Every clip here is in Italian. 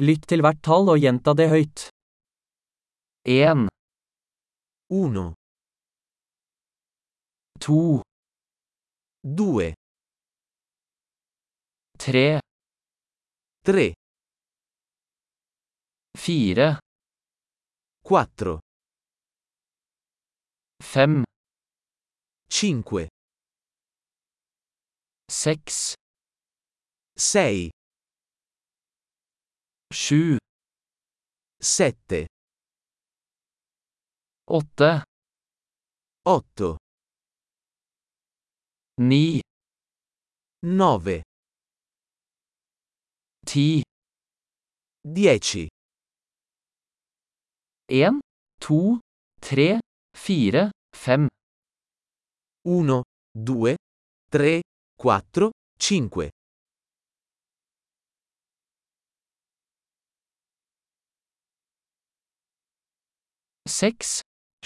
Lytt til hvert tall og gjenta det høyt. 1, 1, 2, 2, 3, 3, 4, 4, 5, 5, 6, 6, 7, 7, 8, 8, 9, 9, 10, 10, 1, 2, 3, 4, 5, 1, 2, 3, 4, 5. seks,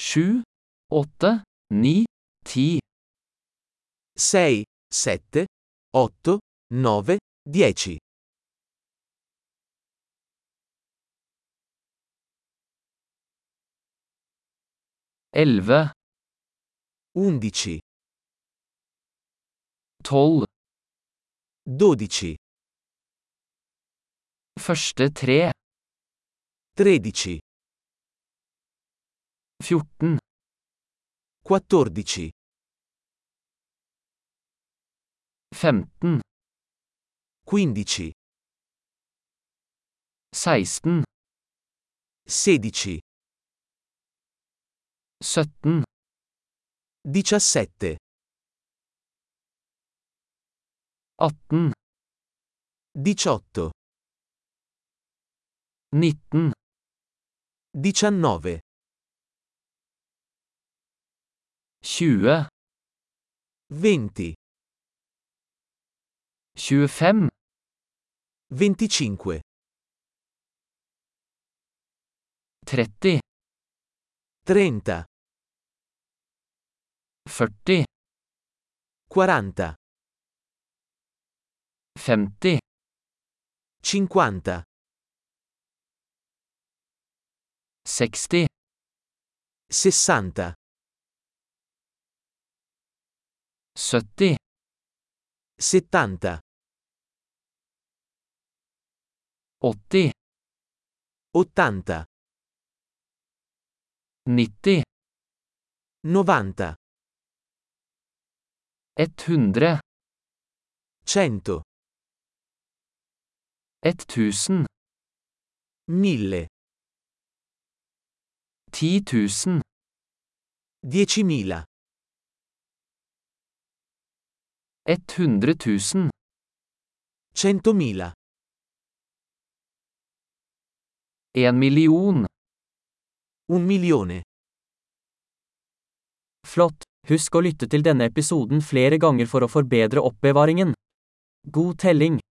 sju, åtte, ni, ti, 6, 7, 8, 9, 10, elleve, 11, tolv, 12, første tre, 13, fjorten, 14, femten, 15, seksten, 16, søtten, 17, atten, 18, nitten, 19, tjue, 20, tjuefem, 25, tretti, 30, førti, 40, femti, 50, seksti, 60, sytti, 70, åtti, 80, nitti, 90, ett hundre, 100, ett tusen, 1000, ti tusen, 10.000, ett hundre tusen, 100.000, en million. 1 milione. Flott! Husk å lytte til denne episoden flere ganger for å forbedre oppbevaringen. God telling!